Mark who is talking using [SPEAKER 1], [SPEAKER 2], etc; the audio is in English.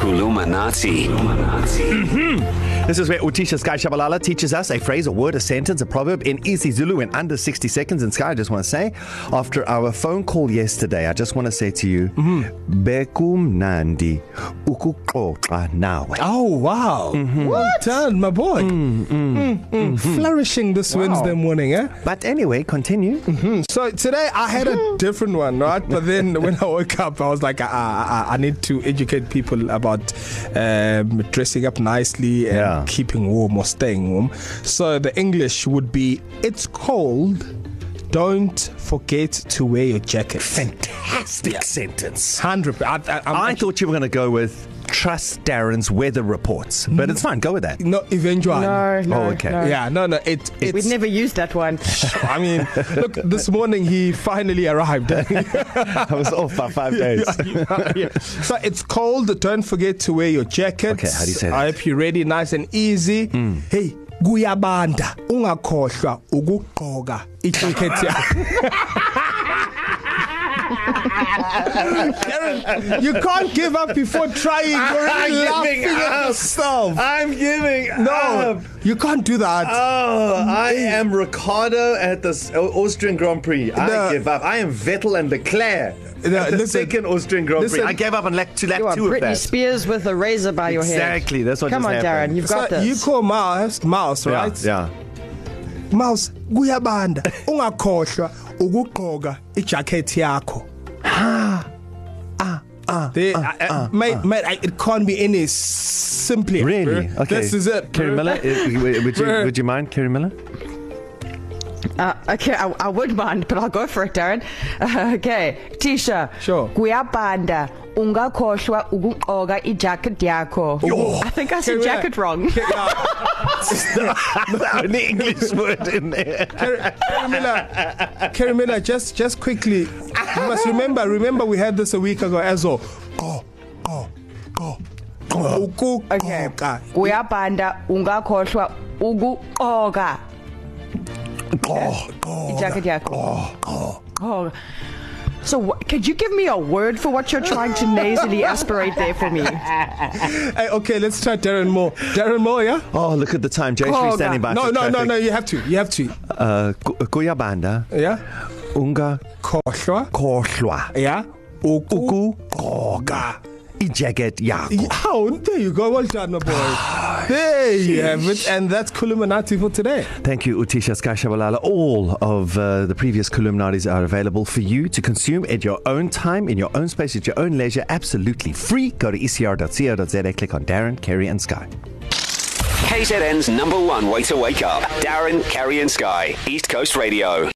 [SPEAKER 1] Kulumanati.
[SPEAKER 2] This is where Utisha Sky Shabalala teaches us a phrase, a word, a sentence, a proverb in easy Zulu in under 60 seconds. And Sky, I just want to say, after our phone call yesterday, I just want to say to you, mm-hmm. Bekumnandi ukuxoxa nawe.
[SPEAKER 3] Oh wow! Mm-hmm. Well done, my boy. Mm, mm, mm, mm. Flourishing this wow. Wednesday morning, eh?
[SPEAKER 2] But anyway, continue. Mm-hmm.
[SPEAKER 3] So today I had a different one, right? But then when I woke up, I was like, ah, ah, ah, I need to educate people about um, dressing up nicely and yeah. keeping warm or staying warm. So the English would be, it's cold. Don't forget to wear your jacket.
[SPEAKER 2] Fantastic yeah. sentence.
[SPEAKER 3] 100. I, I,
[SPEAKER 2] I'm I thought you were going to go with trust Darren's weather reports, but it's fine. Go with that.
[SPEAKER 3] No, eventual.
[SPEAKER 4] No, no.
[SPEAKER 2] Oh, okay.
[SPEAKER 3] No. Yeah, no, no. It, it's,
[SPEAKER 4] We've never used that one.
[SPEAKER 3] I mean, look, this morning he finally arrived.
[SPEAKER 2] I was off by five days.
[SPEAKER 3] yeah, yeah, yeah. So it's cold. Don't forget to wear your jacket.
[SPEAKER 2] Okay, how do you say that? Hmm.
[SPEAKER 3] I hope you're ready, nice and easy. Mm. Hey, kuyabanda ungakhohlwa ukugqoka ijacket yakho. Karen, you can't give up before trying. You're
[SPEAKER 2] I'm
[SPEAKER 3] laughing
[SPEAKER 2] up.
[SPEAKER 3] at yourself.
[SPEAKER 2] I'm giving
[SPEAKER 3] no,
[SPEAKER 2] up.
[SPEAKER 3] you can't do that.
[SPEAKER 2] Oh, I am Ricardo at the Austrian Grand Prix. No. I give up. I am Vettel and Leclerc. No, at the listen, second Austrian Grand listen, Prix. I gave up on lap two, lap
[SPEAKER 4] you are
[SPEAKER 2] two
[SPEAKER 4] Britney
[SPEAKER 2] of that.
[SPEAKER 4] Spears with a razor by your
[SPEAKER 2] exactly,
[SPEAKER 4] head.
[SPEAKER 2] Exactly. That's what
[SPEAKER 4] Come
[SPEAKER 2] just
[SPEAKER 4] on,
[SPEAKER 2] happened.
[SPEAKER 4] Darren. You've got
[SPEAKER 3] so
[SPEAKER 4] this.
[SPEAKER 3] You call Mouse, Mouse, right?
[SPEAKER 2] Yeah. yeah.
[SPEAKER 3] Mouse, kuyabanda. Ungakhohlwa ukugqoka ijacket yakho. ah, ah, ah, they,
[SPEAKER 2] uh,
[SPEAKER 3] ah, I, ah, mate, ah. mate, I, it can't be any simpler.
[SPEAKER 2] Really?
[SPEAKER 3] Bro. Okay. This is it.
[SPEAKER 2] Kerry Miller, Eh, would you would you mind, Kerry Miller?
[SPEAKER 4] Uh, okay, I, I would mind, but I'll go for it, Darren. Uh, okay, Tisha.
[SPEAKER 3] Sure.
[SPEAKER 4] Kuyabanda ungakhohlwa ukugqoka ijacket yakho.
[SPEAKER 3] Yo.
[SPEAKER 4] I think I said Kerry jacket Miller. wrong. Kerry, no.
[SPEAKER 3] uh,
[SPEAKER 2] the only English word in there.
[SPEAKER 3] Kerry Miller, Kerry Miller, just just quickly, you must remember remember we had this a week ago as well. Go, go, go.
[SPEAKER 2] Oh,
[SPEAKER 4] Ukugqoka. Kuyabanda ungakhohlwa ukugqoka.
[SPEAKER 3] Go, go.
[SPEAKER 4] Ijacket yakho.
[SPEAKER 3] Go, go.
[SPEAKER 4] Go. Oh. So, wh- could you give me a word for what you're trying to nasally aspirate there for me?
[SPEAKER 3] hey, okay, let's try Darren Moore. Darren Moore, yeah?
[SPEAKER 2] Oh, look at the time. Jay's oh, standing by.
[SPEAKER 3] No,
[SPEAKER 2] for
[SPEAKER 3] no,
[SPEAKER 2] traffic.
[SPEAKER 3] no, no. You have to. You have to.
[SPEAKER 2] Uh, Kuyabanda.
[SPEAKER 3] Yeah.
[SPEAKER 2] Unga.
[SPEAKER 3] Kohlwa.
[SPEAKER 2] Kohlwa.
[SPEAKER 3] Yeah.
[SPEAKER 2] Uku. Koga. Ijaget yakho.
[SPEAKER 3] Oh, there you go. Well done, my boy. There you have it. And that's Kuluminati for today.
[SPEAKER 2] Thank you, Utisha Skashabalala. All of uh, the previous Kuluminatis are available for you to consume at your own time, in your own space, at your own leisure, absolutely free. Go to E ecr.co.za, click on Darren, Kerry, and Sky.
[SPEAKER 1] KZN's number one way to wake up. Darren, Kerry, and Sky. East Coast Radio.